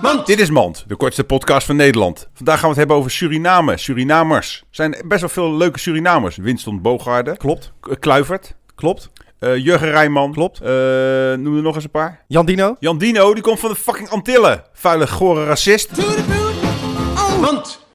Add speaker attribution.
Speaker 1: Mand, dit is Mand, de kortste podcast van Nederland. Vandaag gaan we het hebben over Suriname, Surinamers. Er zijn best wel veel leuke Surinamers. Winston Bogaarde,
Speaker 2: Klopt,
Speaker 1: K- eh, Kluivert,
Speaker 2: klopt.
Speaker 1: eh Jurgen Rijman.
Speaker 2: Klopt.
Speaker 1: Eh, noem er nog eens een paar.
Speaker 2: Jan Dino?
Speaker 1: Jan Dino, die komt van de fucking Antillen. Vuile, gore racist.
Speaker 3: to the boot. Oh.